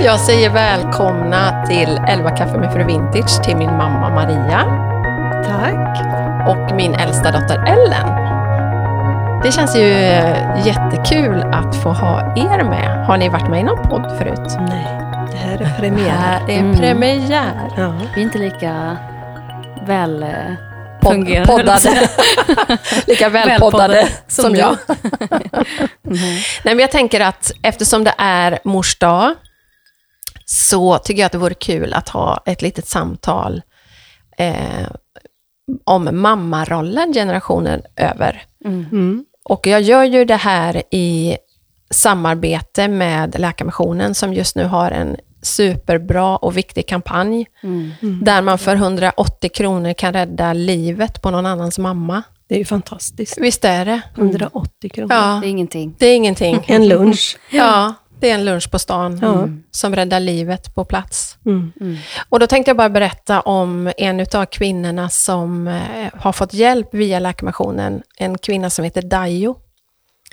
Jag säger välkomna till 11 kaffe med fru Vintage till min mamma Maria Tack. och min äldsta dotter Ellen. Det känns ju eh, jättekul att få ha er med. Har ni varit med i någon podd förut? Nej, det här är Det premiär. här är Mm. premiär. Ja. Vi är inte lika väl eh, Pod- fungerande. poddade. Lika välpoddade som, du. jag. Mm. Mhm. Nej, men jag tänker att eftersom det är mors dag, så tycker jag att det vore kul att ha ett litet samtal eh, om mammarollen generationer över. Mm. Mm. Och jag gör ju det här i samarbete med Läkarmissionen, som just nu har en superbra och viktig kampanj, Mm. där man för 180 kronor kan rädda livet på någon annans mamma. Det är ju fantastiskt. Visst är det? Mm. 180 kronor. Ja, Det är ingenting. det är ingenting. En lunch. Ja, det är en lunch på stan Ja. som räddar livet på plats. Mm. Mm. Och då tänkte jag bara berätta om en av kvinnorna som eh, har fått hjälp via Läkarmissionen, en kvinna som heter Dayo,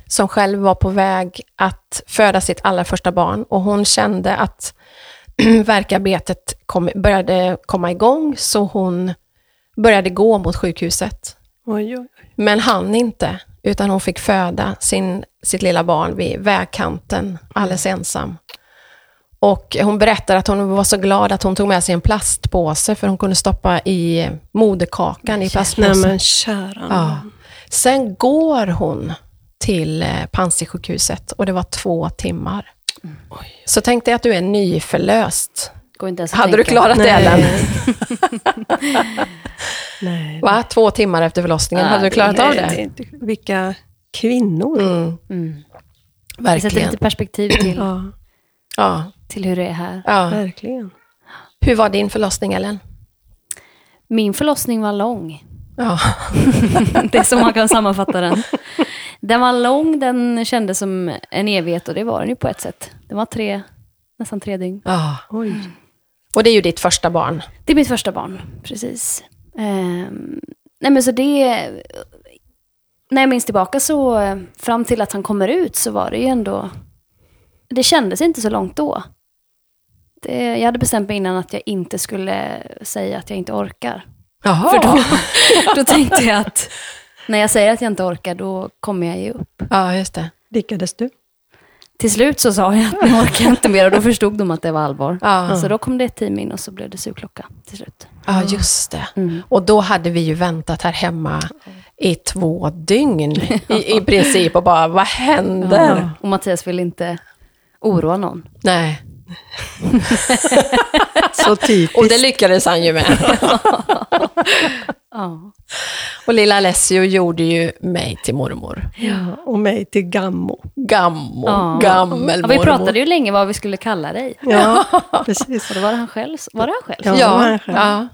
som själv var på väg att föda sitt allra första barn och hon kände att verkarbetet kom, började komma igång, så hon började gå mot sjukhuset. Oj, oj. Men hann inte, utan hon fick föda sin, sitt lilla barn vid vägkanten, alldeles Mm. ensam. Och hon berättar att hon var så glad att hon tog med sig en plastpåse, för hon kunde stoppa i moderkakan i Nej plastpåsen. men Mm. kära Ja. nån. Sen går hon till eh, Panzisjukhuset och det var två timmar. Mm. Oj. Så tänk dig att du är nyförlöst. Går inte ens att Hade du tänka. klarat det, Nej. Ellen? Nej. Va? Två timmar efter förlossningen, Ja, hade du det- klarat av Nej, det? det är inte- Vilka kvinnor. Mm, Mm. Det sätter verkligen. lite perspektiv till, Ja, Ja, till hur det är här. ja. verkligen. Hur var din förlossning, Ellen? Min förlossning var lång. Ja. Det är så man kan sammanfatta den. Den var lång, den kändes som en evighet och det var den ju på ett sätt. Den var tre, nästan tre dygn. Ja. Oj. Och det är ju ditt första barn. Det är mitt första barn, precis. Ehm, nej men så det... När jag minns tillbaka så, eh, fram till att han kommer ut så var det ju ändå... Det kändes inte så långt då. Det, jag hade bestämt mig innan att jag inte skulle säga att jag inte orkar. Jaha. För då, då tänkte jag att när jag säger att jag inte orkar då kommer jag ge upp. Ja, just det. Lyckades du? Till slut så sa jag att nu orkar jag inte mer och då förstod de att det var allvar. Ja, Så då kom det ett team in och så blev det surklocka till slut. ja just det. Mm. Och då hade vi ju väntat här hemma i två dygn i, i princip och bara, vad händer? Ja. Och Mattias vill inte oroa någon. Nej. Så typiskt. Och det lyckades han ju med. Ja. Och lilla Alessio gjorde ju mig till mormor. ja, och mig till gammo. Gammo, Ja. Ja, gammelmormor. vi pratade ju länge vad vi skulle kalla dig. Ja, precis. Och då var det han själv. Var det han själv? Ja. Ja, kanske. ja.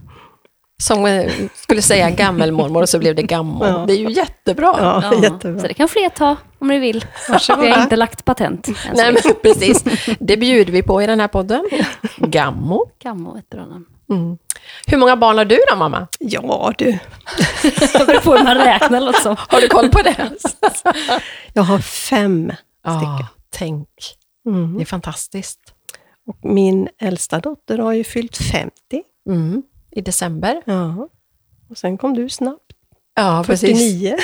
Som eh, skulle säga gammelmormor och så blev det gammo. Ja. Det är ju jättebra. Ja, Ja. jättebra. Så det kan fler ta om ni vill. Vi har inte lagt patent. än så Nej, länge. men Alltså, precis. Det bjuder vi på i den här podden. Gammo. Gammo är ett bra namn. Mm. Hur många barn har du då, mamma? Ja du, Det beror på hur man räknar låter som. Har du koll på det? jag har fem. Ja, tänk. Mm. Det är fantastiskt. Och min äldsta dotter har ju fyllt 50. Mm. I december. Ja. Och sen kom du snabbt, Ja, precis. 49.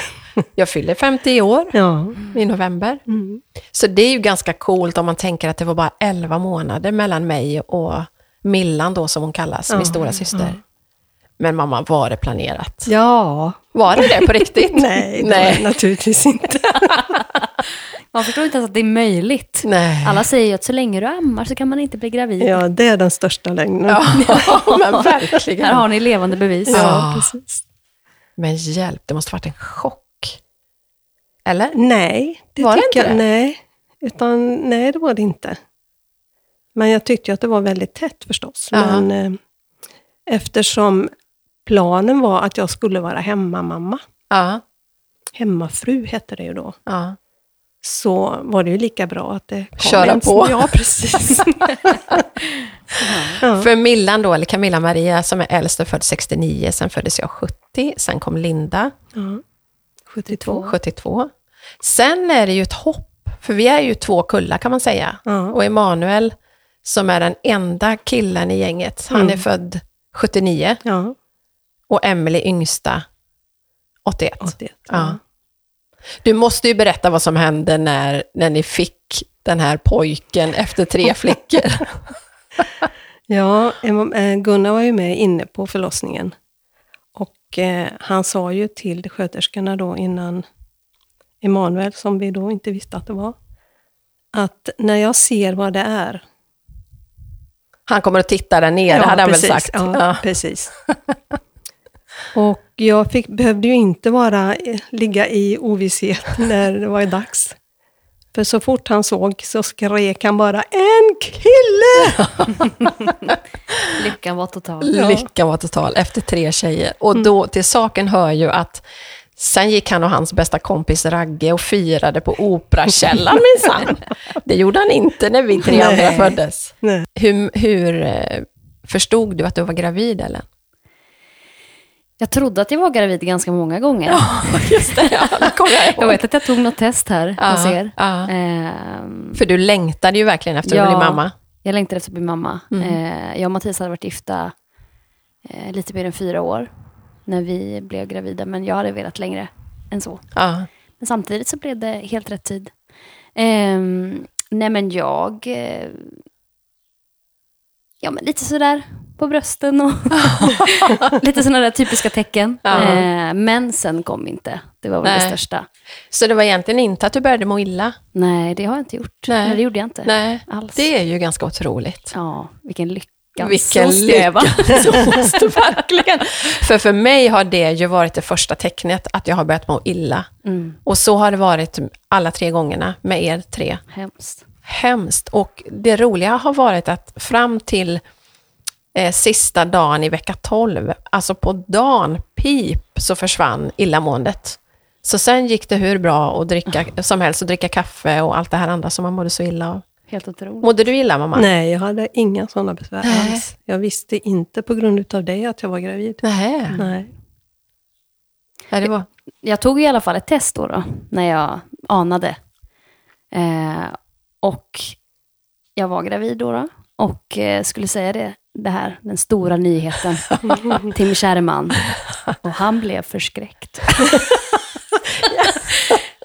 Jag fyller 50 i år, Ja. i november. Mm. Så det är ju ganska coolt om man tänker att det var bara 11 månader mellan mig och Millan då, som hon kallas, Ja, min stora syster. Men mamma, var det planerat? Ja. Var det det på riktigt? Nej, det var det Nej. naturligtvis inte. Man förstår inte ens att det är möjligt. Nej. Alla säger ju att så länge du ammar så kan man inte bli gravid. Ja, det är den största lögnen. Ja, men verkligen. Här har ni levande bevis. Ja. precis. Men hjälp, det måste varit en chock. Eller? Nej, det Var det inte tycker jag det? Nej. Utan, nej, det var det inte. Men jag tyckte ju att det var väldigt tätt förstås. Ja. Men, eh, eftersom planen var att jag skulle vara hemmamamma, Ja. hemmafru hette det ju då, ja. så var det ju lika bra att det kom Köra en- på. Ja, precis. ja. För Millan då, eller Camilla Maria, som är äldst och född 69, sen föddes jag 70, sen kom Linda Ja. 72. 72. Sen är det ju ett hopp, för vi är ju två kullar kan man säga. Ja. Och Emanuel som är den enda killen i gänget. Han är född 79 Ja, och Emily yngsta 81. 81. Ja. Du måste ju berätta vad som hände när, när ni fick den här pojken efter tre flickor. Ja, eh, Gunnar var ju med inne på förlossningen. Och eh, han sa ju till sköterskorna då innan Emanuel, som vi då inte visste att det var, att när jag ser vad det är... Han kommer att titta där nere, hade han väl sagt. Ja, Ja. precis. Och jag fick, behövde ju inte vara, eh, ligga i ovisshet när det var dags. För så fort han såg så skrek han bara ”En kille!” Lyckan var total. Ja. Lyckan var total efter tre tjejer. Och då, till saken hör ju att sen gick han och hans bästa kompis Ragge och firade på Operakällaren minsann. Det gjorde han inte när vi tre andra Nej. föddes. Nej. Hur, hur eh, förstod du att du var gravid, Ellen? Jag trodde att jag var gravid ganska många gånger. Just det, ja, det kommer jag Jag ihåg. vet att jag tog något test här Ja, hos er. ja. Ehm, För du längtade ju verkligen efter att Ja. bli mamma. Mm. jag längtade efter att bli mamma. Eh, jag och Mattias hade varit gifta eh, lite mer än fyra år när vi blev gravida, men jag hade velat längre än så. Ja. Men samtidigt så blev det helt rätt tid. Ehm, nej men jag... Eh, ja men lite sådär på brösten och lite sådana där typiska tecken. Ja. Ehm, men sen kom inte. Det var väl det Nej. största. Så det var egentligen inte att du började må illa? Nej, det har jag inte gjort. Nej. Nej, det gjorde jag inte. Nej, Alls. det är ju ganska otroligt. Ja, vilken lycka. Vilken Sås det, va? Sås det verkligen. För för mig har det ju varit det första tecknet att jag har börjat må illa. Mm, Och så har det varit alla tre gångerna med er tre. hemskt. Hemskt. Och det roliga har varit att fram till eh, sista dagen i vecka 12, alltså på dagen, pip, så försvann illamåendet. Så sen gick det hur bra att dricka, som helst, att dricka kaffe och allt det här andra som man mådde så illa av. Helt otroligt. Mådde du illa mamma? Nej, jag hade inga sådana besvär Nej. alls. Jag visste inte på grund utav det att jag var gravid. Nej. Nej. Nej, det var... jag tog i alla fall ett test då, då när jag anade. Eh, och jag var gravid då, då och eh, skulle säga det, det här, den stora nyheten till min käre man. Och han blev förskräckt.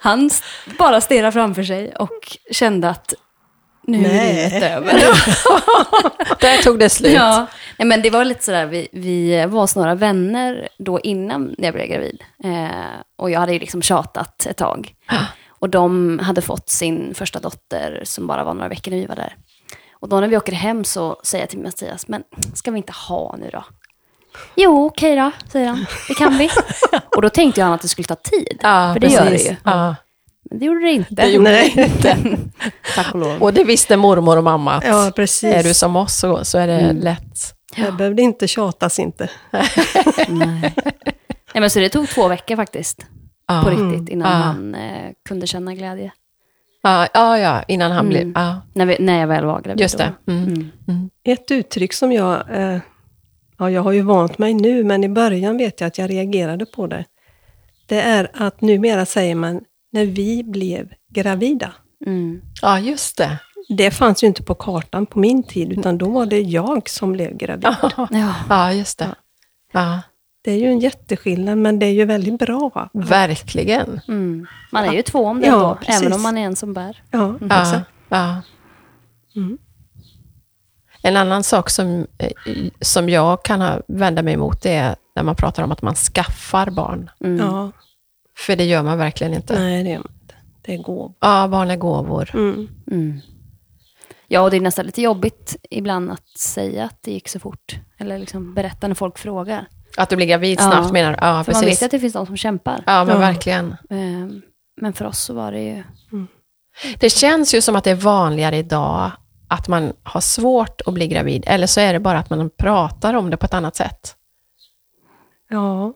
han s- bara stirrade framför sig och kände att nu är Nej. livet över. Där tog det slut. Ja, nej, men det var lite sådär, vi, vi var snarare vänner då innan jag blev gravid. Eh, och jag hade ju liksom tjatat ett tag. Och de hade fått sin första dotter som bara var några veckor när vi var där. Och då när vi åker hem så säger jag till Mattias, men ska vi inte ha nu då? Jo, okej då, säger han. Det kan vi. Och då tänkte jag att det skulle ta tid, Ja, för det gör det precis. ju. Ja. Men det gjorde det inte. Nej. Tack och lov. Och det visste mormor och mamma att Ja, precis. är du som oss så, så är det lätt. Jag behövde inte tjatas inte. Nej. Nej, men så det tog två veckor faktiskt, Ja. Mm. på riktigt, innan Ja. han eh, kunde känna glädje. Ja, ja, ja, innan han Mm. blev... Ja, När, vi, när jag väl var gravid. just det. då. Mm. Mm. Ett uttryck som jag... Eh, ja, jag har ju vant mig nu, men i början vet jag att jag reagerade på det. Det är att numera säger man när vi blev gravida. Mm. Ja, just det. Det fanns ju inte på kartan på min tid, utan då var det jag som blev gravid. Ja. Ja, just det. Ja, Det är ju en jätteskillnad, men det är ju väldigt bra. verkligen. Mm. Man är ju två om det Ja, då, precis. även om man är en som bär. Ja, Ja, exakt. ja. Mm. En annan sak som, eh, som jag kan ha- vända mig emot det är när man pratar om att man skaffar barn. Mm. ja. För det gör man verkligen inte. Nej, det gör man inte. Det är gåv. Ja, barn är gåvor. Mm. Mm. Ja, och det är nästan lite jobbigt ibland att säga att det gick så fort. Eller liksom berätta när folk frågar. Att du blir gravid Ja. snabbt menar du? Ja, För man vet precis. ju att det finns de som kämpar. Ja, men Ja. verkligen. Eh, Men för oss så var det ju... Det känns ju som att det är vanligare idag att man har svårt att bli gravid, eller så är det bara att man pratar om det på ett annat sätt. Ja,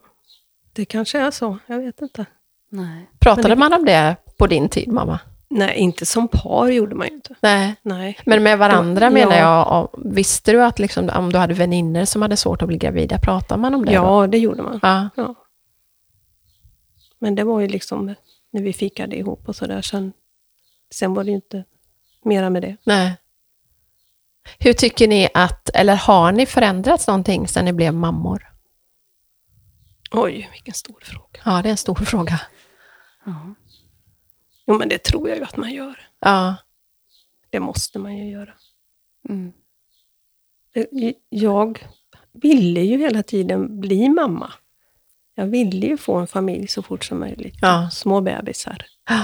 det kanske är så. Jag vet inte. Nej. Pratade man om det på din tid, mamma? Nej, inte som par gjorde man ju inte. Nej. Nej. Men med varandra Ja. menar jag, om- visste du att liksom, om du hade väninnor som hade svårt att bli gravida, pratade man om det? Då? Ja, det gjorde man. Ja. Ja. Men det var ju liksom när vi fikade ihop och sådär. Sen, sen var det ju inte mera med det. Nej. Hur tycker ni att, eller har ni förändrats någonting sedan ni blev mammor? Oj, vilken stor fråga. Ja, det är en stor fråga. Ja. Jo, men det tror jag ju att man gör. Ja, Det måste man ju göra. Mm. Det- Eh, Jag ville ju hela tiden bli mamma. Jag ville ju få en familj så fort som möjligt. Ja. Små bebisar. Ja.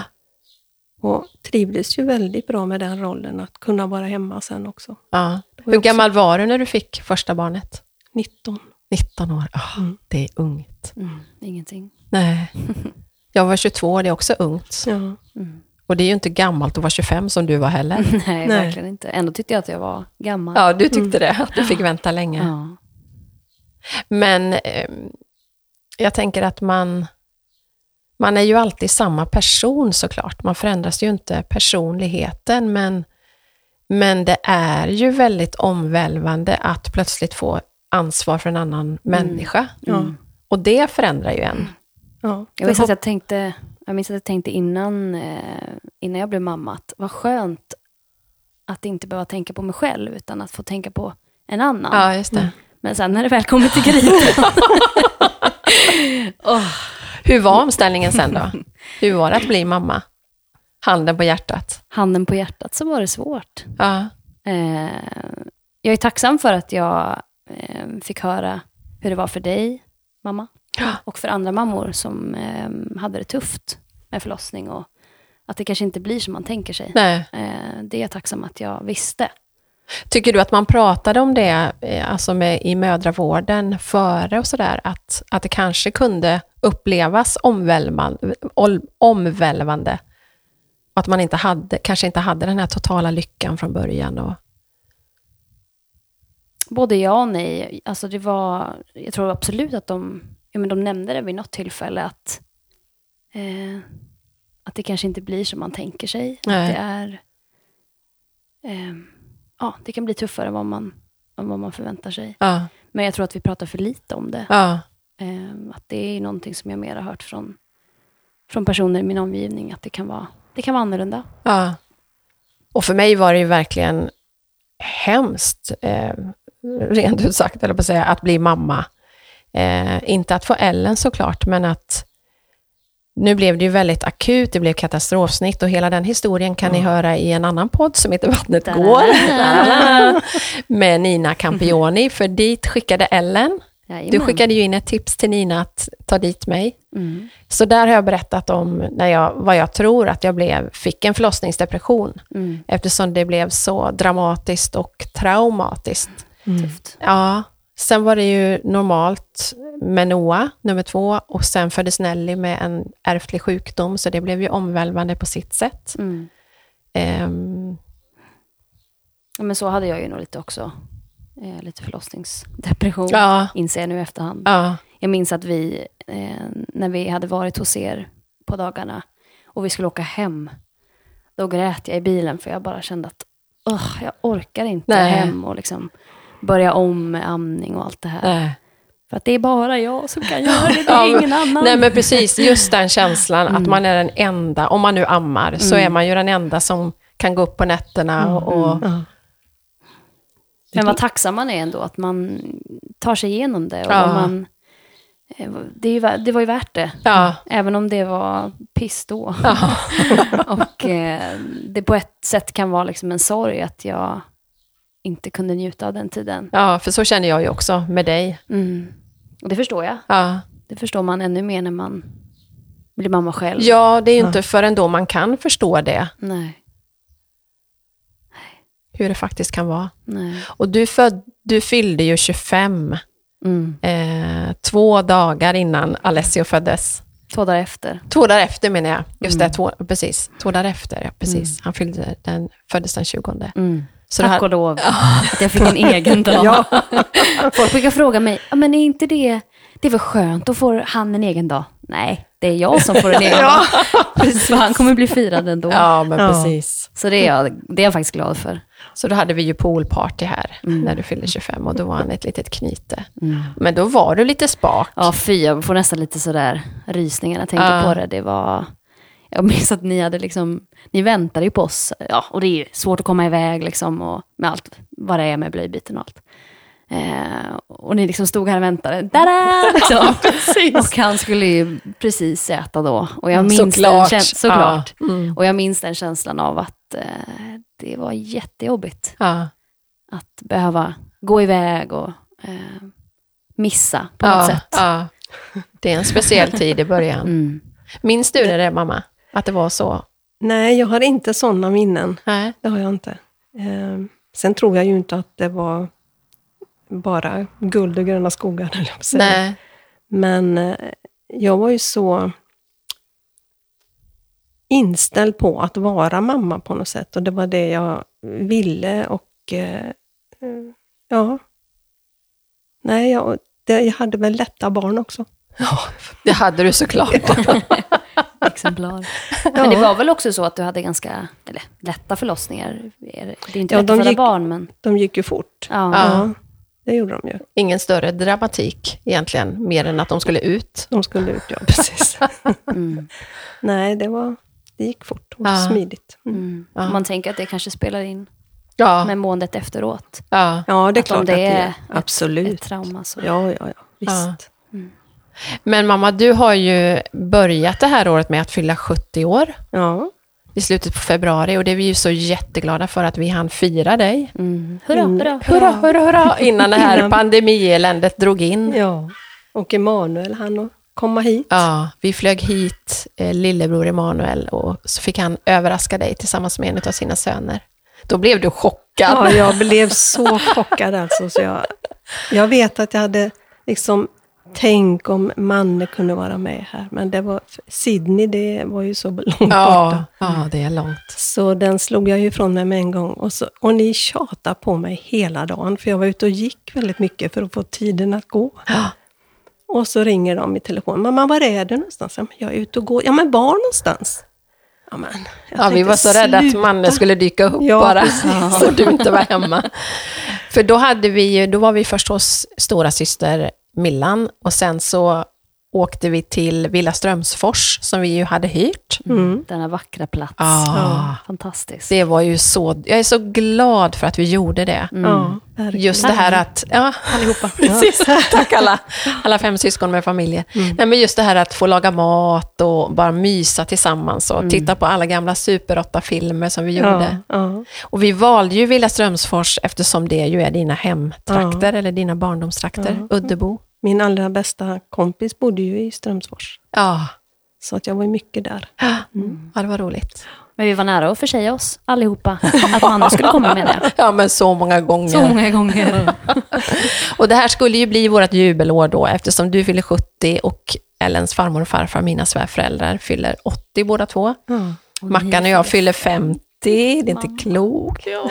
Och trivdes ju väldigt bra med den rollen, att kunna vara hemma sen också. ja. var ju Hur gammal var du när du fick första barnet? 19. 19 år. Ah, Mm. Det är ungt. Mm. Ingenting. Nej. Jag var 22, det är också ungt. Ja. Mm. Och det är ju inte gammalt att vara 25 som du var heller. Nej, verkligen verkligen inte. Ändå tyckte jag att jag var gammal. Ja, du tyckte det, att du fick vänta länge. Ja. Men ehm, jag tänker att man, man är ju alltid samma person såklart. Man förändras ju inte personligheten, men, men det är ju väldigt omvälvande att plötsligt få ansvar för en annan människa. Ja. Och det förändrar ju en. ja. Jag, minns att jag, tänkte, jag minns att jag tänkte innan, eh, innan jag blev mamma att vad skönt att inte behöva tänka på mig själv utan att få tänka på en annan. Ja, just det. Men sen när det väl kommer till kritan. Åh, Hur var omställningen sen då? Hur var det att bli mamma? Handen på hjärtat. handen på hjärtat så var det svårt. Ja, Eh, jag är tacksam för att jag eh, fick höra hur det var för dig, mamma. Ja. Och för andra mammor som eh, hade det tufft med förlossning. Och att det kanske inte blir som man tänker sig. nej. Eh, det är jag tacksam att jag visste. Tycker du att man pratade om det eh, alltså med, i mödravården före och sådär, att, att det kanske kunde upplevas omvälvande, omvälvande? Och Att man inte hade, kanske inte hade den här totala lyckan från början? Och, Både ja och nej. Alltså det var, jag tror absolut att de, ja, men de nämnde det vid något tillfälle. Att, eh, att det kanske inte blir som man tänker sig. Nej. Att det är... Eh, ja, det kan bli tuffare än vad man, än vad man förväntar sig. ja, Men jag tror att vi pratar för lite om det. ja, Eh, att det är någonting som jag mer har hört från, från personer i min omgivning, att det kan vara, det kan vara annorlunda. ja. Och för mig var det ju verkligen hemskt, eh, rent ut sagt, eller på att säga, att bli mamma. Eh, inte att få Ellen såklart, men att nu blev det ju väldigt akut, det blev katastrofsnitt och hela den historien kan ni höra i en annan podd som heter Vattnet Da-da-da. går. med Nina Campioni, för dit skickade Ellen. Du Jajamän. skickade ju in ett tips till Nina att ta dit mig. Mm, Så där har jag berättat om när jag, vad jag tror att jag blev, fick en förlossningsdepression mm, eftersom det blev så dramatiskt och traumatiskt. Tufft. Ja, sen var det ju normalt med Noah, nummer två, och sen föddes Nelly med en ärftlig sjukdom, så det blev ju omvälvande på sitt sätt. Mm. Ehm, Ja, men så hade jag ju nog lite också. Eh, lite förlossningsdepression, ja, inser jag nu i efterhand. ja, Jag minns att vi, eh, när vi hade varit hos er på dagarna och vi skulle åka hem, då grät jag i bilen för jag bara kände att "Ugh, jag orkar inte Nej. hem och liksom börja om med amning och allt det här. nej. För att det är bara jag som kan göra det, det Ja, är men- ingen annan. nej, men precis, just den känslan att man är den enda, om man nu ammar, så är man ju den enda som kan gå upp på nätterna och, och Ja. Men vad tacksam man är ändå att man tar sig igenom det. Och Ja. man, eh, det, är ju, vä- det var ju värt det. ja, Även om det var piss då. och eh, det på ett sätt kan vara liksom en sorg att jag inte kunde njuta av den tiden. ja, för så känner jag ju också med dig. Mm. Och det förstår jag. Ja. Det förstår man ännu mer när man blir mamma själv. Ja, det är ju inte förrän då man kan förstå det, Nej, hur det faktiskt kan vara. nej. Och du, föd, du fyllde ju 25, Mm. eh, två dagar innan Alessio föddes. Två dagar efter. Två dagar efter menar jag. Just Mm. det, två, precis. Två dagar efter, ja, precis. Han fyllde den, föddes den 20. Mm. Så det Tack här- och lov att jag fick en egen dag. Folk brukar fråga mig, "Ja, men är inte det, det är väl skönt, då får han en egen dag. Nej, det är jag som får en egen dag. Precis, för han kommer bli firad ändå. Ja, men Ja. precis. Så det är, jag, det är jag faktiskt glad för. Så då hade vi ju poolparty här Mm. när du fyllde 25 och då var han ett litet knyte. Men då var du lite spak. Ja, fy, jag får nästan lite sådär rysningar när jag tänker Ja. på det. Det var... Jag minns att ni hade liksom, ni väntade ju på oss. Ja, och det är ju svårt att komma iväg liksom och med allt vad det är med blöjbyten och allt. Eh, och ni liksom stod här och väntade. Tada! Liksom. och han skulle ju precis äta då. Och jag minns Såklart. Den, käns- såklart. Ja. Mm. Och jag minns den känslan av att eh, det var jättejobbigt Ja. att behöva gå iväg och eh, missa på något Ja, sätt. ja. Det är en speciell tid i början. Mm. Minns du det där, mamma? Att det var så? Nej, jag har inte sådana minnen. Nej. Det har jag inte. Ehm, sen tror jag ju inte att det var bara guld och gröna skogar, höll jag på att säga. Nej. Men eh, jag var ju så inställd på att vara mamma på något sätt. Och det var det jag ville och eh, eh, ja. Nej, jag, det, jag hade väl lätta barn också. Det hade du såklart. Exemplar. Men det var väl också så att du hade ganska eller, lätta förlossningar? Det är inte Ja, lätt de att föda gick- barn, men... De gick ju fort. Ja. Ja, det gjorde de ju. Ingen större dramatik egentligen, mer än att de skulle ut. De skulle ut, ja precis. Mm. Nej, det, var, det gick fort och Ja. smidigt. Mm. Mm. Man tänker att det kanske spelar in Ja, med måendet efteråt. ja. Ja, det är Att om klart det att det är är. ett- Absolut. Ett trauma. Så. Ja, ja, ja. Visst. Men mamma, du har ju börjat det här året med att fylla 70 år Ja. i slutet på februari och det är vi ju så jätteglada för att vi hann fira dig. Mm. Hurra, hurra. Hurra, hurra, hurra! Innan det här Innan. pandemieländet drog in. ja. Och Emanuel han och komma hit. Ja, vi flög hit eh, lillebror Emanuel och så fick han överraska dig tillsammans med en av sina söner. Då blev du chockad. Ja, jag blev så chockad alltså. Så jag, jag vet att jag hade liksom, tänk om Manne kunde vara med här. Men det var, Sydney, det var ju så långt borta. Ja, ja det är långt. Så den slog jag ju ifrån mig med en gång. Och, så, och ni tjatade på mig hela dagen, för jag var ute och gick väldigt mycket för att få tiden att gå. Ja. Och så ringer de i telefon. Mamma, var är du någonstans? Ja, men jag är ute och går. Ja, men var någonstans? Ja, men, jag Ja, vi tänkte, var så rädda att "Sluta." mannen skulle dyka upp Ja, bara, precis. så du inte var hemma. För då, hade vi, ju- då var vi först hos stora syster Millan och sen så åkte vi till Villa Strömsfors som vi ju hade hyrt. Mm. Denna vackra plats. Ja. Fantastiskt. Det var ju så, jag är så glad för att vi gjorde det. Ja, verkligen. Just det här att... Ja, allihopa. Precis. Tack alla, alla fem syskon med familjer. Nej, men just det här att få laga mat och bara mysa tillsammans och titta på alla gamla Super 8-filmer som vi ja, gjorde. ja, Och vi valde ju Villa Strömsfors eftersom det ju är dina hemtrakter, eller dina barndomstrakter, Uddebo. Min allra bästa kompis bodde ju i Strömsfors. Ja. Så att jag var ju mycket där. ja, det var roligt. Men vi var nära att försäga oss allihopa. Att Manne skulle komma med det. Ja, men så många gånger. Så många gånger. Och det här skulle ju bli vårt jubelår då, eftersom du fyller 70 och Ellens farmor och farfar, mina svärföräldrar, fyller 80 båda två. Mackan och jag fyller 50, det är inte klokt. Ja.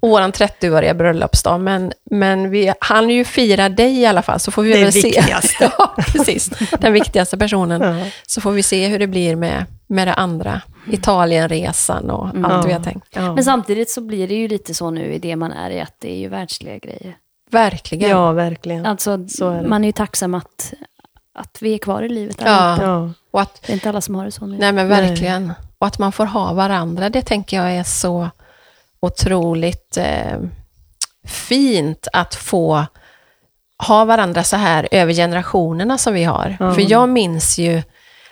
Och vår 30-åriga bröllopsdag, men, men vi hann ju fira dig i alla fall, så får vi Det väl se. viktigaste. ja, precis. Den viktigaste personen. Ja. Mm. Så får vi se hur det blir med, med det andra. Italienresan och allt vi har tänkt. Ja, Men samtidigt så blir det ju lite så nu i det man är i, att det är ju världsliga grejer. Verkligen. ja verkligen. Ja. Alltså, Så är det. man är ju tacksam att, att vi är kvar i livet. Ja. Och att Det är inte alla som har det så nu. Nej men verkligen. Och att man får ha varandra, det tänker jag är så otroligt eh, fint att få ha varandra så här över generationerna som vi har. För jag minns ju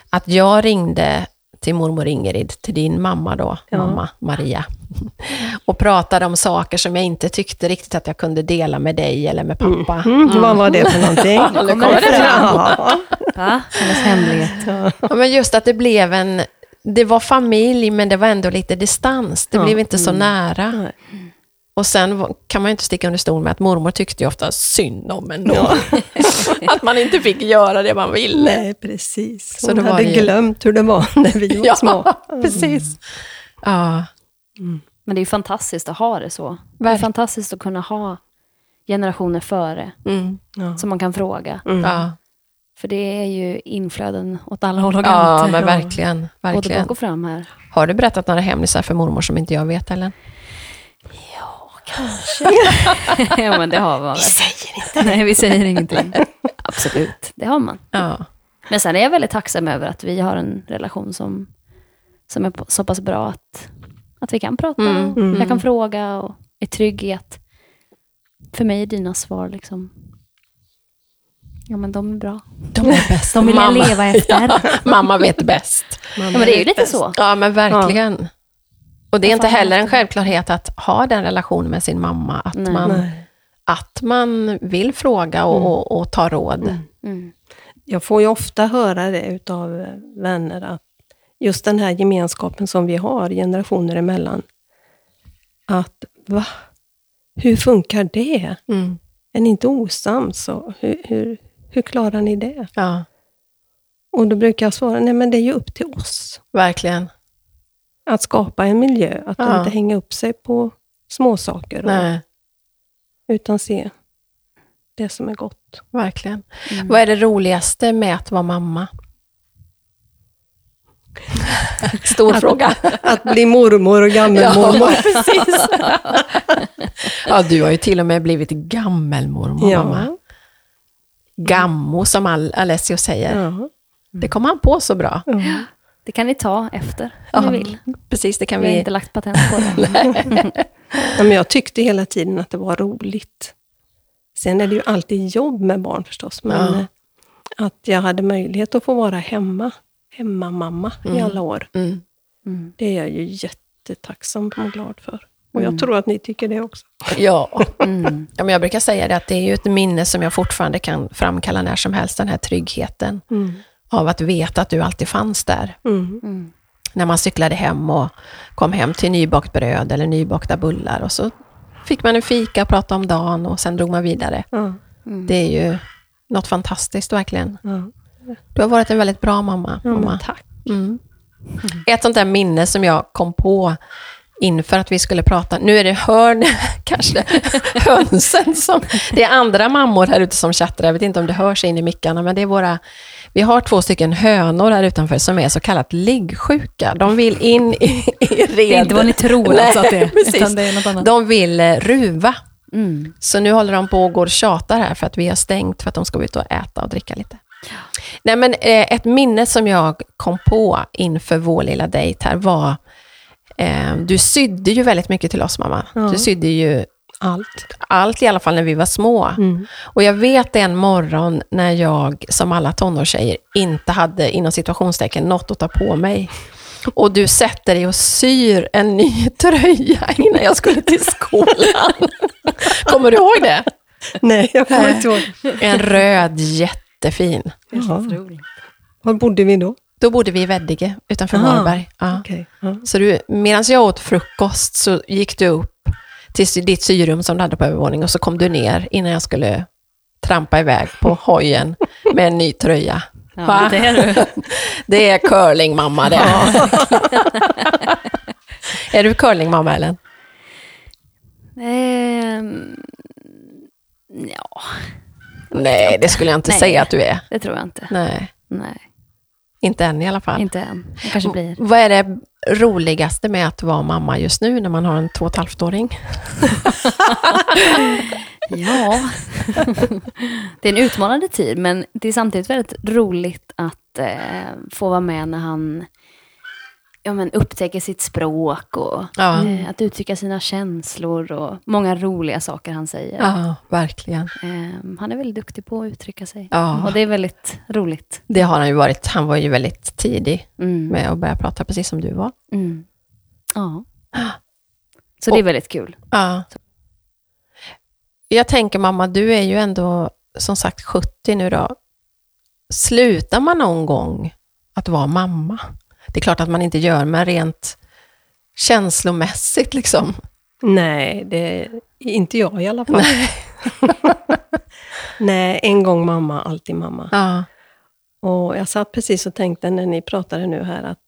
att jag ringde till mormor Ingrid, till din mamma då, mamma Maria, och pratade om saker som jag inte tyckte riktigt att jag kunde dela med dig eller med pappa. Mm, vad var det för någonting? Nu kommer det Ja. Va? Hennes hemlighet. Ja, men just att det blev en... Det var familj, men det var ändå lite distans. Det blev inte så nära. Och sen var- kan man ju inte sticka under stol med att mormor tyckte ju ofta synd om en då. att man inte fick göra det man ville. Nej, precis. Så Hon det var hade ju- glömt hur det var när vi var Ja, små. precis. Ja, Men det är ju fantastiskt att ha det så. Det är Verkligen. fantastiskt att kunna ha generationer före, mm. Ja. som man kan fråga. ja. För det är ju inflöden åt alla håll och ja kanter. men verkligen. Både verkligen. bak och fram här. Har du berättat några hemlisar för mormor som inte jag vet, Ellen? ja, men det har man Vi säger inte Nej, vi säger ingenting. Absolut, det har man. Ja, Men sen är jag väldigt tacksam över att vi har en relation som som är på- så pass bra att, att vi kan prata. Mm, och Jag kan fråga och är trygg i att för mig är dina svar liksom, ja men de är bra. De är bäst. De vill jag mamma. leva efter. Ja, mamma vet bäst. Mamma Ja men det är ju lite bäst. så. Ja, men verkligen. Och det är Vad inte fan heller en heter det? självklarhet att ha den relationen med sin mamma, att, Nej. man, Nej. att man vill fråga och, och, och ta råd. Mm. Jag får ju ofta höra det utav eh, vänner att just den här gemenskapen som vi har generationer emellan. Att va? Hur funkar det? Mm. Är ni inte osams? Och hur, hur, hur klarar ni det? Ja, Och då brukar jag svara, nej men det är ju upp till oss. verkligen. Att skapa en miljö, att Ja. inte hänga upp sig på småsaker. Och, Nej, utan se det som är gott. verkligen. Vad är det roligaste med att vara mamma? Stor fråga. Att bli mormor och gammelmormor. precis. ja, du har ju till och med blivit gammelmormor, mamma. Ja. Gammo, som Al- Alessio säger. ja. Det kom han på så bra. ja. Det kan ni ta efter om ni vill. Precis, det kan Vi har vi... inte lagt patent på det. Ja, men jag tyckte hela tiden att det var roligt. Sen är det ju alltid jobb med barn förstås, men Ja. eh, att jag hade möjlighet att få vara hemma, hemmamamma i alla år, Mm. Mm. det är jag ju jättetacksam och glad för. Och jag tror att ni tycker det också. Ja. Mm. Ja, men jag brukar säga det att det är ju ett minne som jag fortfarande kan framkalla när som helst, den här tryggheten Mm. av att veta att du alltid fanns där. Mm. Mm. När man cyklade hem och kom hem till nybakt bröd eller nybakta bullar och så fick man en fika och prata om dagen och sen drog man vidare. Ja, Mm. Det är ju något fantastiskt verkligen. ja. Du har varit en väldigt bra mamma. Ja, men mamma. tack. Mm. Ett sånt där minne som jag kom på inför att vi skulle prata, nu är det hörn, kanske hönsen som, det är andra mammor här ute som chattar, jag vet inte om det hörs in i mickarna, men det är våra, vi har två stycken hönor här utanför som är så kallat liggsjuka. De vill in i, i red. Det är inte vad ni tror alltså att det är, precis. utan det är något annat. De vill eh, ruva. Mm. Så nu håller de på och går och tjatar här för att vi har stängt för att de ska ut och äta och dricka lite. Nej, men eh, ett minne som jag kom på inför vår lilla dejt här var, eh, du sydde ju väldigt mycket till oss mamma. Ja. Du sydde ju Allt. allt i alla fall när vi var små. Mm. Och jag vet en morgon när jag, som alla tonårstjejer, inte hade inom situationstecken något att ta på mig. Och du sätter dig och syr en ny tröja innan jag skulle till skolan. Kommer du ihåg det? Nej, jag kommer inte ihåg. En röd, jättefin. Ja. Var bodde vi då? Då bodde vi i Veddige utanför Ah, Varberg. Ja. Okej. Ja. Så du, medan jag åt frukost så gick du upp till sy- ditt syrum som du hade på övervåningen och så kom du ner innan jag skulle trampa iväg på hojen med en ny tröja. Va? Ja, det är du. Det är curling mamma det. är du curling mamma Ellen? Ehm, ja, Nej, det skulle jag inte Nej. säga att du är. det tror jag inte. Nej, Nej, inte än i alla fall. inte än. Det kanske blir. Vad är det roligaste med att vara mamma just nu när man har en två och ett halvt-åring? Ja. det är en utmanande tid, men det är samtidigt väldigt roligt att eh, få vara med när han ja, men upptäcker sitt språk och Ja. eh, att uttrycka sina känslor och många roliga saker han säger. Ja, verkligen. Ehm, han är väldigt duktig på att uttrycka sig. Ja. Och det är väldigt roligt. Det har han ju varit. Han var ju väldigt tidig Mm. med att börja prata, precis som du var. Mm. Ja. Så det är väldigt kul. Ja. Jag tänker mamma, du är ju ändå som sagt 70 nu då. Slutar man någon gång att vara mamma? Det är klart att man inte gör, men rent känslomässigt liksom. Nej, det, inte jag i alla fall. Nej. Nej, en gång mamma, alltid mamma. Ja, Och jag satt precis och tänkte när ni pratade nu här att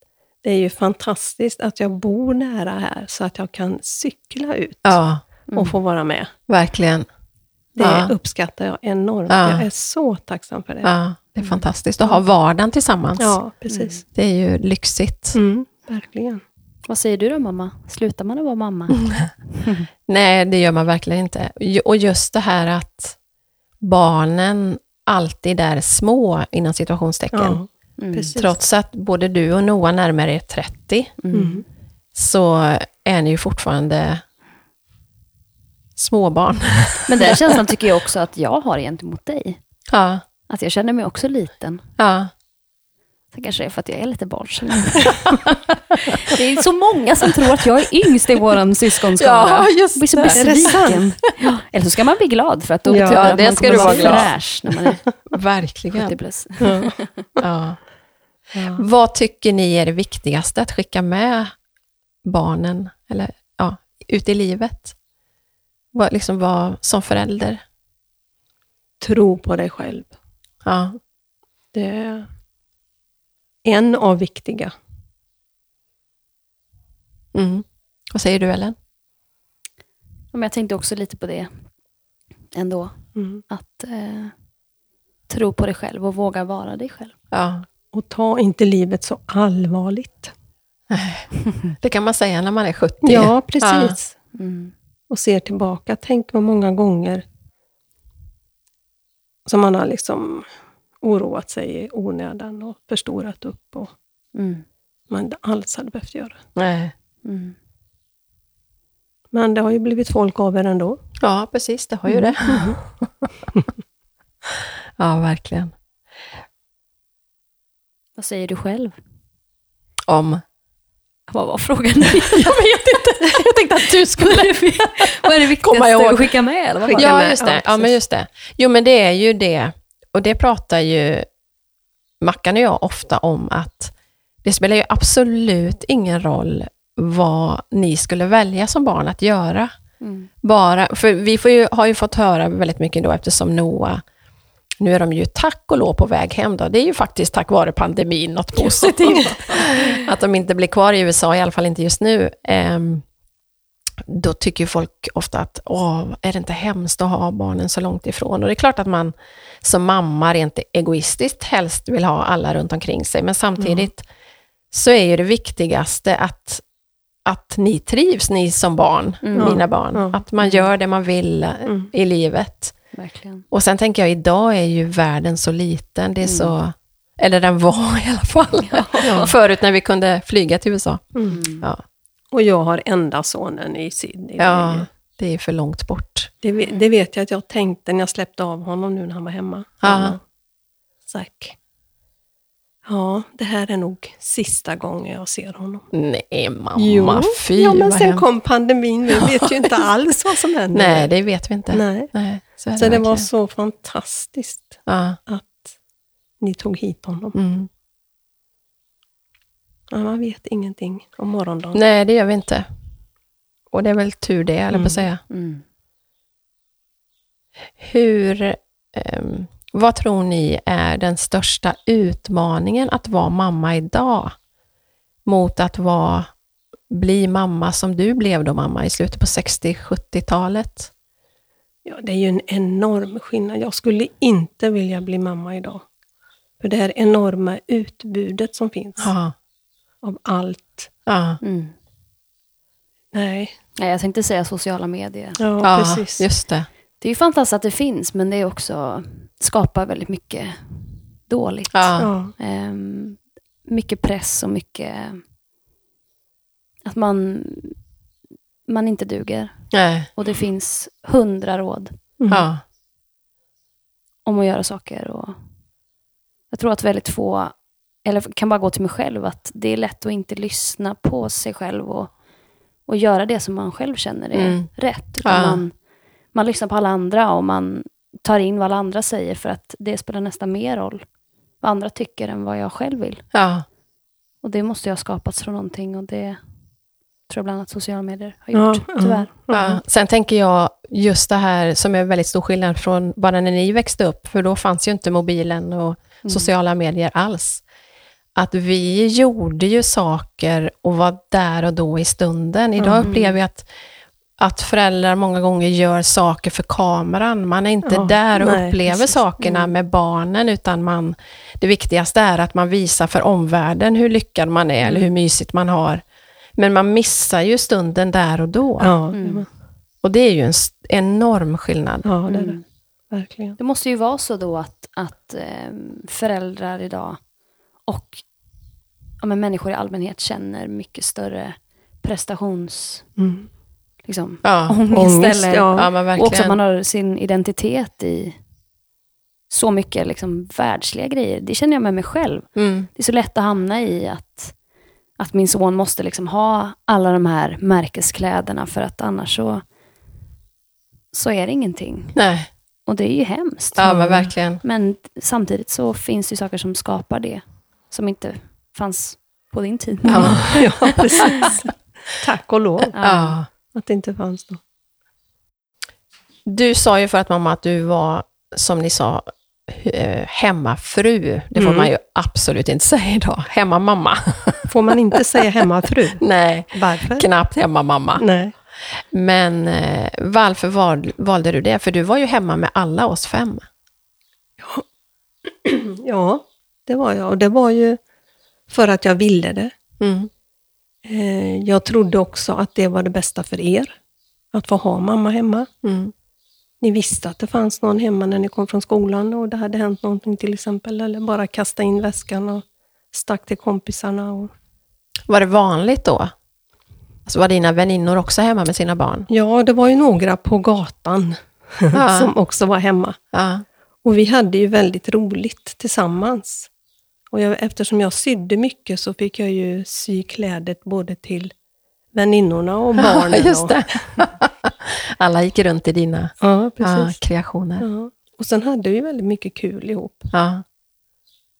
det är ju fantastiskt att jag bor nära här så att jag kan cykla ut ja och få vara med. verkligen. Det Ja. uppskattar jag enormt. Ja. Jag är så tacksam för det. Ja, Ja, det är fantastiskt att ha vardagen tillsammans. precis. Det är ju lyxigt. Mm, verkligen. Vad säger du då mamma? Slutar man att vara mamma? Mm. Nej, det gör man verkligen inte. Ju- Och just det här att barnen alltid är små, inom situationstecken. Ja. Mm. Precis. Trots att både du och Noah närmar er 30 Mm. så är ni ju fortfarande småbarn. Men den känslan tycker jag också att jag har gentemot dig. ja, Att Alltså, jag känner mig också liten. ja. Sen kanske det är för att jag är lite barnslig. det är så många som tror att jag är yngst i vår syskonskara. Ja, just Man blir så det. Är det besviken. Ja. Eller så ska man bli glad för att då Ja, betyder det att det man ska kommer du vara vara glad. fräsch när man är 70 Verkligen. plus. Ja. Vad tycker ni är det viktigaste att skicka med barnen eller, ja, ut i livet? Vad, liksom, vad, som förälder? Tro på dig själv. Ja. Det är en av viktiga. Mm. Vad säger du, Ellen? Men jag tänkte också lite på det ändå. Mm. Att eh, tro på dig själv och våga vara dig själv. Ja. Och ta inte livet så allvarligt. Det kan man säga när man är 70. Ja, precis. Mm. och ser tillbaka. Tänk vad många gånger som man har liksom oroat sig i onödan och förstorat upp och Mm. man inte alls hade behövt göra. Nej. Mm. Men det har ju blivit folk av er ändå. Ja, precis. Det har ju det. Mm. ja, verkligen. Vad säger du själv? Om. Vad var frågan? jag vet inte. Jag tänkte att du skulle... Vad är det Komma viktigaste ihåg. att skicka med? Eller vad var det? Skicka Ja, med. just Ja, det. Ja, men precis. just det. Jo, men det är ju det. Och det pratar ju Mackan och jag ofta om att det spelar ju absolut ingen roll vad ni skulle välja som barn att göra. Mm. bara, för vi får ju, har ju fått höra väldigt mycket då eftersom Noah, nu är de ju tack och lov på väg hem då, det är ju faktiskt tack vare pandemin något positivt. att de inte blir kvar i USA, i alla fall inte just nu. Ehm, då tycker ju folk ofta att, åh, är det inte hemskt att ha barnen så långt ifrån? Och det är klart att man som mamma rent egoistiskt helst vill ha alla runt omkring sig, men samtidigt så är ju det viktigaste att, att ni trivs, ni som barn, Mm. mina barn. Ja. Att man gör det man vill eh, Mm. i livet. Verkligen. Och sen tänker jag, idag är ju världen så liten. Det är Mm. så... Eller den var i alla fall. Förut när vi kunde flyga till USA. Mm. Ja, Och jag har enda sonen i Sydney. Det, är ja ju- det är för långt bort. det, ve- det vet jag att jag tänkte när jag släppte av honom nu när han var hemma. Ja. Zack. Ja, det här är nog sista gången jag ser honom. Nej, mamma. Jo. Fy, ja, men vad sen hemskt. kom pandemin. Vi vet ju inte alls vad som händer. Nej, det vet vi inte. Nej. Nej, så är Så det var verkligen. så fantastiskt Ja. att ni tog hit honom. Mm. Ja, man vet ingenting om morgondagen. Nej, det gör vi inte. Och det är väl tur det, eller på Mm. att säga. Mm. Hur, ehm, vad tror ni är den största utmaningen att vara mamma idag? Mot att vara, bli mamma som du blev då mamma i slutet på 60-70-talet? Ja, det är ju en enorm skillnad. Jag skulle inte vilja bli mamma idag. För det här enorma utbudet som finns Ja. av allt. Ja, Mm. Nej, Nej, jag tänkte säga sociala medier. ja, ja precis. just det. Det är ju fantastiskt att det finns, men det är också skapar väldigt mycket dåligt. Ja. Ja. Ehm, mycket press och mycket att man, man inte duger. Nej. Och det finns hundra råd Mm. Ja. om att göra saker. Och jag tror att väldigt få, eller kan bara gå till mig själv, att det är lätt att inte lyssna på sig själv och, och göra det som man själv känner är Mm. rätt. Utan Ja. man, man lyssnar på alla andra och man tar in vad alla andra säger för att det spelar nästan mer roll vad andra tycker än vad jag själv vill. Ja. Och det måste ju ha skapats från någonting och det tror jag bland annat sociala medier har Ja, gjort, ja. tyvärr. Ja. Sen tänker jag just det här som är väldigt stor skillnad från bara när ni växte upp, för då fanns ju inte mobilen och Mm. sociala medier alls. Att vi gjorde ju saker och var där och då i stunden. Idag Mm. upplever jag att, att föräldrar många gånger gör saker för kameran. Man är inte Ja, där och nej, upplever precis. Mm. sakerna med barnen, utan man, det viktigaste är att man visar för omvärlden hur lyckad man är Mm. eller hur mysigt man har. Men man missar ju stunden där och då. Ja, Mm. Och det är ju en s- enorm skillnad. ja, det är det. Mm. Verkligen. Det måste ju vara så då att, att eh, föräldrar ehm, idag Och ja, men människor i allmänhet känner mycket större prestations... Mm. Liksom, Ja. ångest, Ångest, eller, ja. Ja, men Och också att verkligen. man har sin identitet i så mycket liksom, världsliga grejer. Det känner jag med mig själv. Mm. Det är så lätt att hamna i att, att min son måste liksom ha alla de här märkeskläderna för att annars så, så är det ingenting. Nej, Och det är ju hemskt. ja men verkligen. Men samtidigt så finns det ju saker som skapar det som inte fanns på din tid. Ja. ja, precis. Tack och lov Ja. att det inte fanns då. Du sa ju för att mamma att du var, som ni sa, eh, hemmafru. Det får Mm. man ju absolut inte säga idag. Hemmamamma. Får man inte säga hemmafru? Nej, Varför? knappt hemmamamma. Mm. Nej. Men eh, varför val, valde du det? För du var ju hemma med alla oss fem. Ja, det var jag. Och det var ju för att jag ville det. Mm. Eh, Jag trodde också att det var det bästa för er. Att få ha mamma hemma. Mm. Ni visste att det fanns någon hemma när ni kom från skolan och det hade hänt någonting till exempel. Eller bara kasta in väskan och stack till kompisarna. Och... Var det vanligt då? Alltså var dina väninnor också hemma med sina barn? Ja, det var ju några på gatan Ja. som också var hemma. Ja. Och vi hade ju väldigt roligt tillsammans. Och jag, eftersom jag sydde mycket så fick jag ju sy klädet både till väninnorna och barnen. Just Och, det. alla gick runt i dina ja, ja, precis. kreationer. Ja. Och sen hade vi väldigt mycket kul ihop. Ja.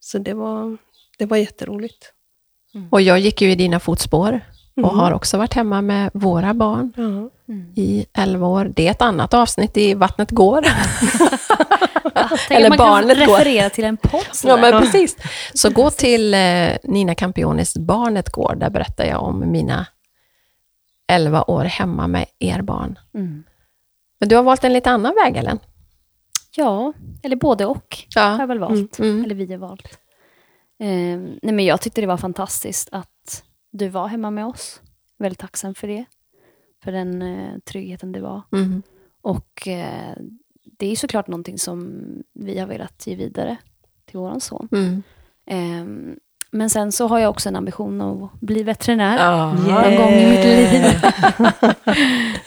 Så det var, det var jätteroligt. Och jag gick ju i dina fotspår och Mm. har också varit hemma med våra barn Ja. Mm. i 11 år. Det är ett annat avsnitt i Vattnet går. Ah, Tänk Eller att man kan barnet går. referera till en podd Ja, sådär. men precis. Så gå till eh, Nina Campionis Barnet går, där berättar jag om mina 11 år hemma med er barn. Mm. Men du har valt en lite annan väg, Ellen? ja, eller både och. har jag Ja. väl valt. Mm, mm. Eller vi har valt. Ehm, nej men jag tyckte det var fantastiskt att du var hemma med oss. Väldigt tacksam för det. För den eh, tryggheten det var. Mm. Och eh, det är såklart någonting som vi har velat ge vidare till våran son. Mm. Ehm, men sen så har jag också en ambition att bli veterinär. Ja. Någon gång i mitt liv.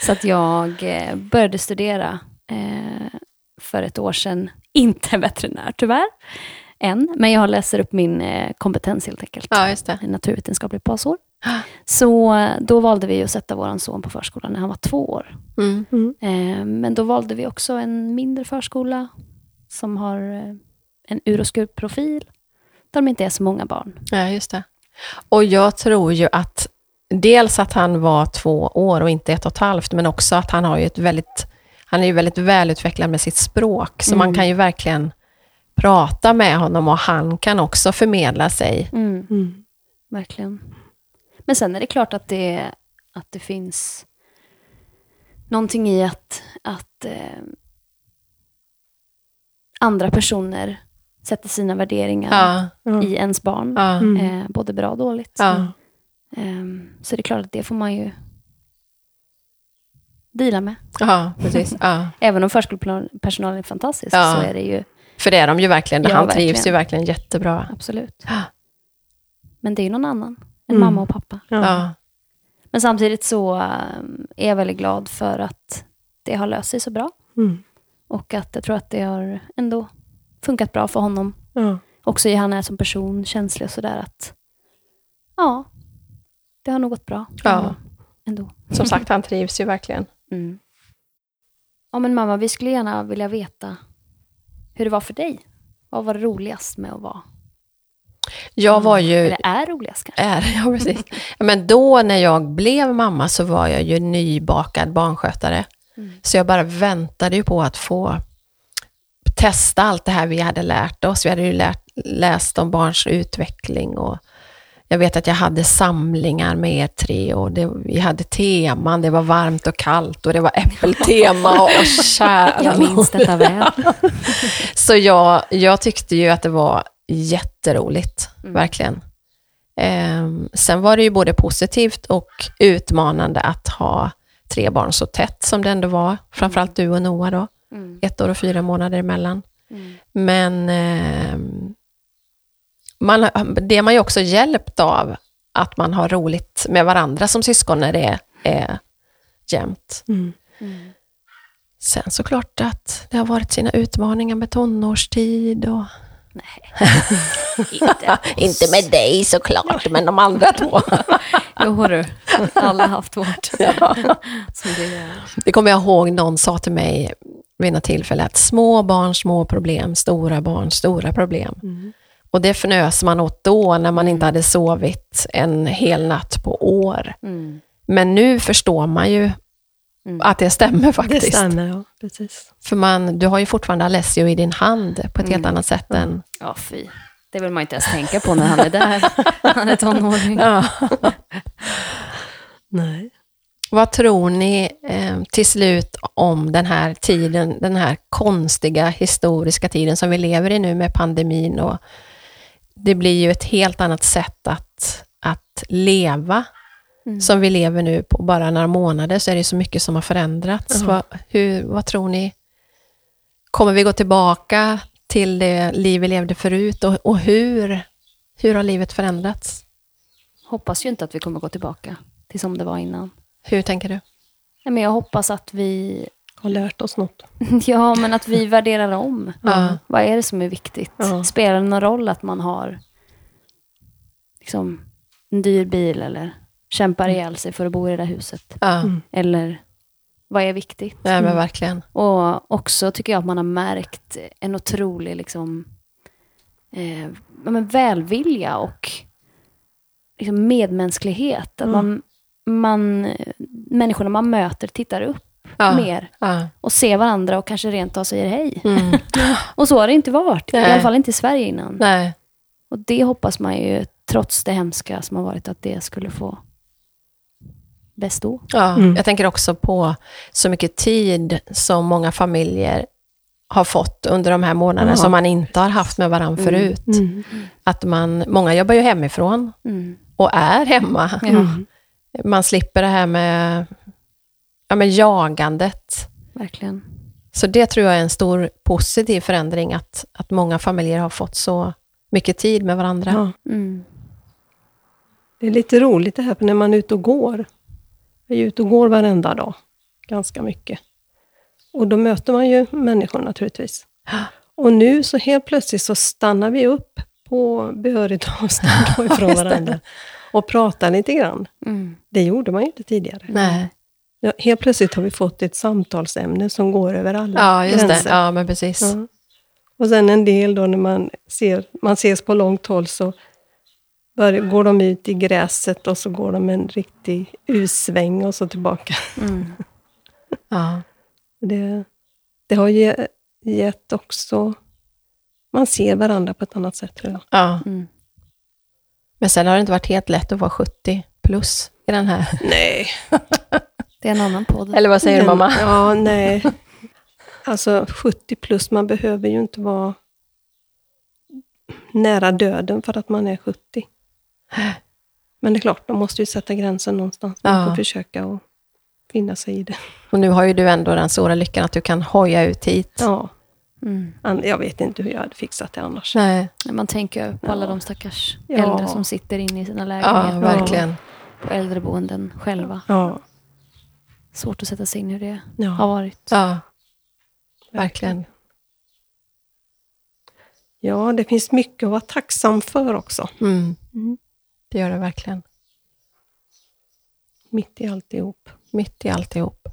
Så att jag eh, började studera eh, för ett år sedan. Inte veterinär tyvärr, än. Men jag läser upp min eh, kompetens helt enkelt. ja, just det. En naturvetenskaplig basår. Så eh, då valde vi att sätta vår son på förskolan när han var två år. Mm. Eh, Men då valde vi också en mindre förskola som har eh, en ur och skur-profil. Där de inte är så många barn. Ja, just det. Och jag tror ju att dels att han var två år och inte ett och ett halvt, men också att han har ju ett väldigt, han är ju väldigt välutvecklad med sitt språk, så man kan ju verkligen prata med honom och han kan också förmedla sig. Mm. Mm. Verkligen. Men sen är det klart att det, att det finns någonting i att, att eh, andra personer sätter sina värderingar Ja, Ja. i ens barn. ja, Mm. Eh, både bra och dåligt. ja. Ehm, så det är klart att det får man ju deala med. ja precis. Ja. Även om förskolepersonalen är fantastisk Ja. så är det ju För det är de ju verkligen, Ja, han trivs verkligen. ju verkligen jättebra. absolut. Ja. Men det är ju någon annan än Mm. mamma och pappa. Ja. Ja. Men samtidigt så ehm, är jag väldigt glad för att det har löst sig så bra. Mm. Och att jag tror att det har ändå funkat bra för honom. Ja. Också i han är som person, känslig och sådär att ja, det har nog gått bra. för Ja. honom Ändå. Som sagt, han trivs ju verkligen. Mm. Ja men mamma, vi skulle gärna vilja veta hur det var för dig. Vad var det roligast med att vara? Jag var ju... Eller är roligast kanske? Är, ja, precis. Men då när jag blev mamma så var jag ju nybakad barnskötare. Mm. Så jag bara väntade ju på att få testa allt det här vi hade lärt oss. Vi hade ju lärt, läst om barns utveckling och jag vet att jag hade samlingar med er tre och det, vi hade teman, det var varmt och kallt och det var äppeltema och, och kära Jag minns detta väl. så jag, jag tyckte ju att det var jätteroligt, Mm. verkligen. Ehm, sen var det ju både positivt och utmanande att ha tre barn så tätt som det ändå var. Framförallt du och Noah då, Mm. ett år och fyra månader emellan. Mm. Men ehm, man, det är man ju också hjälpt av, att man har roligt med varandra som syskon när det är jämnt. Mm. Sen såklart att det har varit sina utmaningar med tonårstid och Inte. Inte med dig såklart, men de andra två. Jo du, alla har haft vårt. Ja. Som det är. Det kommer jag ihåg någon sa till mig vid något tillfälle att små barn, små problem, stora barn, stora problem. Mm. Och det fnös man åt då när man inte hade sovit en hel natt på år. Mm. Men nu förstår man ju Mm. att det stämmer Det faktiskt. stämmer, ja. Precis. För man, du har ju fortfarande Alessio i din hand på ett helt annat sätt än... Ja, fy. Det vill man inte ens tänka på när han är där. Han är tonåring. Ja. Nej. Vad tror ni eh, till slut om den här tiden, den här konstiga historiska tiden som vi lever i nu med pandemin och det blir ju ett helt annat sätt att, att leva Mm. som vi lever nu på bara några månader så är det ju så mycket som har förändrats. Ja. Vad, hur, vad tror ni? Kommer vi gå tillbaka till det liv vi levde förut och, och hur, hur har livet förändrats? Hoppas ju inte att vi kommer gå tillbaka till som det var innan. Hur tänker du? Nej, men jag hoppas att vi, Har lärt oss något. ja, men att vi värderar om. Ja. Vad är det som är viktigt? Ja. Spelar det någon roll att man har liksom, en dyr bil eller kämpar ihjäl sig för att bo i det där huset? Ja, Eller vad är viktigt? nej men verkligen. Och också tycker jag att man har märkt en otrolig liksom, eh, ja, men välvilja och liksom medmänsklighet. Mm. Att man, man, människorna man möter tittar upp Ja. mer Ja. och ser varandra och kanske rent av säger hej. Mm. Och så har det inte varit, i Nej. alla fall inte i Sverige innan. Nej. Och det hoppas man ju, trots det hemska som har varit, att det skulle få bestå. Ja, Mm. Jag tänker också på så mycket tid som många familjer har fått under de här månaderna Ja. som man inte har haft med varandra Mm. förut. Mm. Att man, många jobbar ju hemifrån Mm. och är hemma. Ja, Mm. Man slipper det här med, ja, med jagandet. verkligen. Så det tror jag är en stor positiv förändring, att, att många familjer har fått så mycket tid med varandra. Ja. Mm. Det är lite roligt det här, för när man är ute och går. Jag är ju ute och går varenda dag, ganska mycket. Och då möter man ju människor naturligtvis. Och nu så helt plötsligt så stannar vi upp på behörigt avstånd då ifrån just det. varandra och pratar lite grann. Mm. Det gjorde man ju inte tidigare. Nej. Ja, helt plötsligt har vi fått ett samtalsämne som går över alla Ja, just det. gränser. Ja, men precis. Ja. Och sen en del då när man, ser, man ses på långt håll så bör, går de ut i gräset och så går de en riktig U-sväng och så tillbaka. Mm. Ja. Det, det har ge, gett också... Man ser varandra på ett annat sätt tror jag. Ja. Mm. Men sen har det inte varit helt lätt att vara 70 plus i den här. Nej. Det är en annan podd. Eller vad säger du mamma? Ja, nej. Alltså 70 plus, man behöver ju inte vara nära döden för att man är 70. Men det är klart, de måste ju sätta gränsen någonstans. Man Ja. får försöka att finna sig i det. Och nu har ju du ändå den stora lyckan att du kan hoja ut hit. Ja, Mm. an- jag vet inte hur jag hade fixat det annars. Nej. Man tänker på alla Ja. de stackars Ja. äldre som sitter inne i sina Ja, lägenheter verkligen. på äldreboenden själva. Ja, Svårt att sätta sig in i hur det har ja, varit. Ja, verkligen. ja, det finns mycket att vara tacksam för också. Mm. Mm. Det gör det verkligen. Mitt i alltihop. Mitt i alltihop.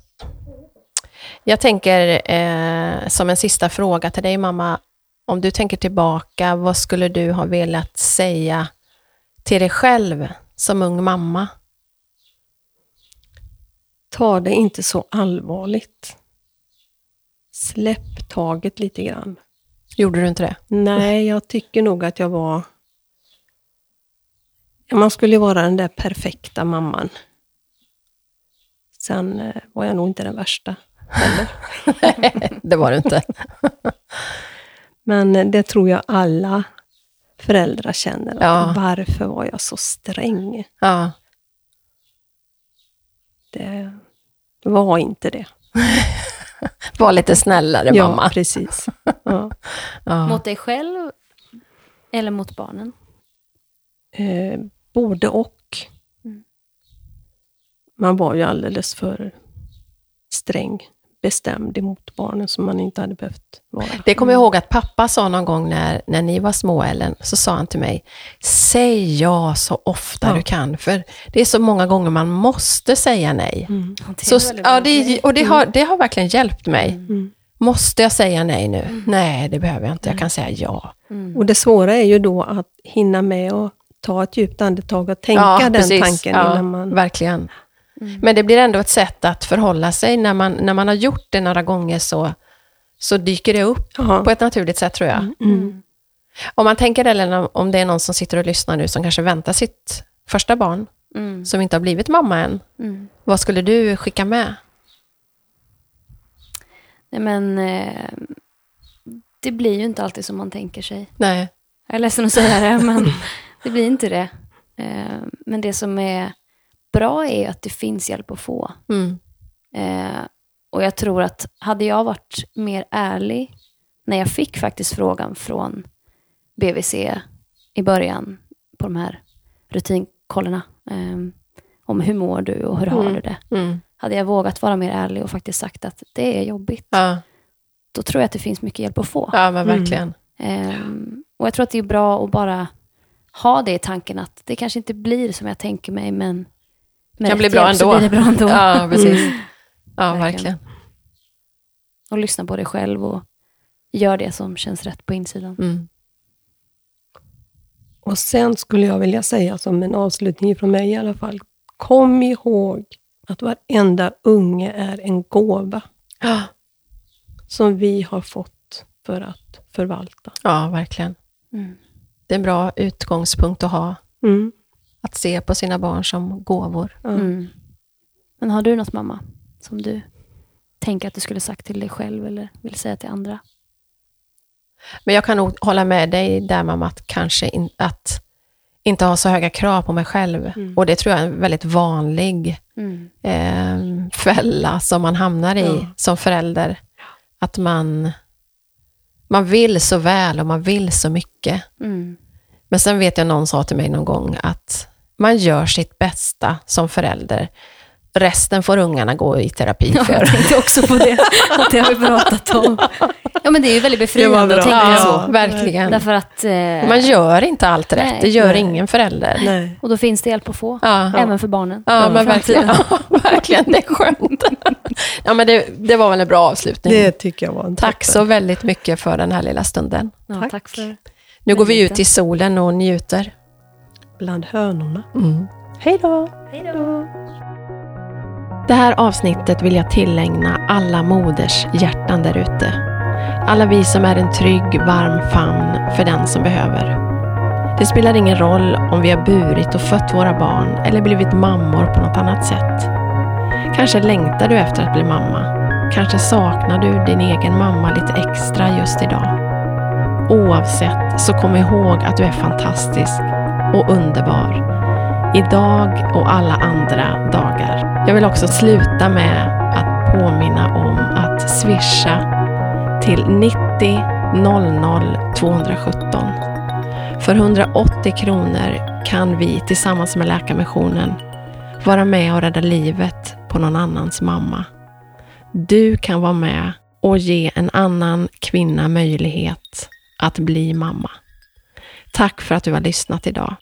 Jag tänker eh, som en sista fråga till dig mamma. Om du tänker tillbaka, vad skulle du ha velat säga till dig själv som ung mamma? Ta det inte så allvarligt. Släpp taget lite grann. Gjorde du inte det? Nej, jag tycker nog att jag var... Ja, Man skulle ju vara den där perfekta mamman. Sen eh, var jag nog inte den värsta. det var du inte. Men eh, det tror jag alla föräldrar känner. att Ja. Varför var jag så sträng? Ja, Det var inte det. var lite snällare ja, mamma. precis. Ja. Ja. Mot dig själv eller mot barnen? eh, både och. Mm. Man var ju alldeles för sträng, bestämd emot barnen som man inte hade behövt vara. Det kommer jag ihåg att pappa sa någon gång när, när ni var små, Ellen, så sa han till mig, säg ja så ofta Ja. du kan, för det är så många gånger man måste säga nej. Mm. Det Så, är väldigt ja, bra det, grej. och det har, det har verkligen hjälpt mig. Mm. Måste jag säga nej nu? Nej, det behöver jag inte. Jag kan säga ja. Mm. Och det svåra är ju då att hinna med och ta ett djupt andetag och tänka ja, den precis. tanken Ja, innan man... Mm. Verkligen. Men det blir ändå ett sätt att förhålla sig. När man, när man har gjort det några gånger så, så dyker det upp Ja. på ett naturligt sätt, tror jag. Mm. Om man tänker, Ellen, om- om det är någon som sitter och lyssnar nu som kanske väntar sitt första barn, Mm. som inte har blivit mamma än. Mm. Vad skulle du skicka med? Nej, men eh, det blir ju inte alltid som man tänker sig. Nej. Jag är ledsen att säga det, men det blir inte det. Eh, men det som är bra är ju att det finns hjälp att få. Mm. Eh, och jag tror att hade jag varit mer ärlig när jag fick faktiskt frågan från BVC i början på de här rutinkollerna eh, om hur mår du och hur har Mm. du det. Mm. Hade jag vågat vara mer ärlig och faktiskt sagt att det är jobbigt, Ja, då tror jag att det finns mycket hjälp att få. ja, men Mm. verkligen. Ehm, och jag tror att det är bra att bara ha det i tanken att det kanske inte blir som jag tänker mig, men Kan med rätt bli bra hjälp så ändå. blir det bra ändå. Ja, precis. Ja, Verkligen. verkligen. Och lyssna på dig själv och gör det som känns rätt på insidan. Mm. Och sen skulle jag vilja säga som en avslutning från mig i alla fall. Kom ihåg att varenda unge är en gåva Ja. som vi har fått för att förvalta. Ja, verkligen. Mm. Det är en bra utgångspunkt att ha. Mm. Att se på sina barn som gåvor. Ja. Mm. Men har du något mamma som du tänker att du skulle sagt till dig själv eller vill säga till andra? Men jag kan nog hålla med dig där, mamma, att kanske in, att inte ha så höga krav på mig själv. Mm. Och det tror jag är en väldigt vanlig eh, fälla som man hamnar i Ja. som förälder. Att man, man vill så väl och man vill så mycket. Mm. Men sen vet jag någon sa till mig någon gång att man gör sitt bästa som förälder. Resten får ungarna gå i terapi Ja, för. jag tänkte också på det, att det har vi pratat om. Ja, men det är ju väldigt befriande att tänka Ja, så. verkligen. Därför att, eh, Man gör inte allt rätt. Nej. det gör Nej. ingen förälder. Nej. och då finns det hjälp att få, Ja. Ja. även för barnen. men Framtiden. verkligen, ja, verkligen, det är skönt. Ja, men det, det var väl en bra avslutning. Det tycker jag var en Tack så väldigt mycket för den här lilla stunden. Ja, Tack. tack. för Nu går vi Väldigt ut i solen och njuter. Bland hönorna. Mm. Hej då! Det här avsnittet vill jag tillägna alla moders hjärtan där ute. Alla vi som är en trygg, varm famn för den som behöver. Det spelar ingen roll om vi har burit och fött våra barn eller blivit mammor på något annat sätt. Kanske längtar du efter att bli mamma. Kanske saknar du din egen mamma lite extra just idag. Oavsett så kom ihåg att du är fantastisk och underbar idag och alla andra dagar. Jag vill också sluta med att påminna om att swisha till 90 00 217. För 180 kronor kan vi tillsammans med Läkarmissionen vara med och rädda livet på någon annans mamma. Du kan vara med och ge en annan kvinna möjlighet att bli mamma. Tack för att du har lyssnat idag.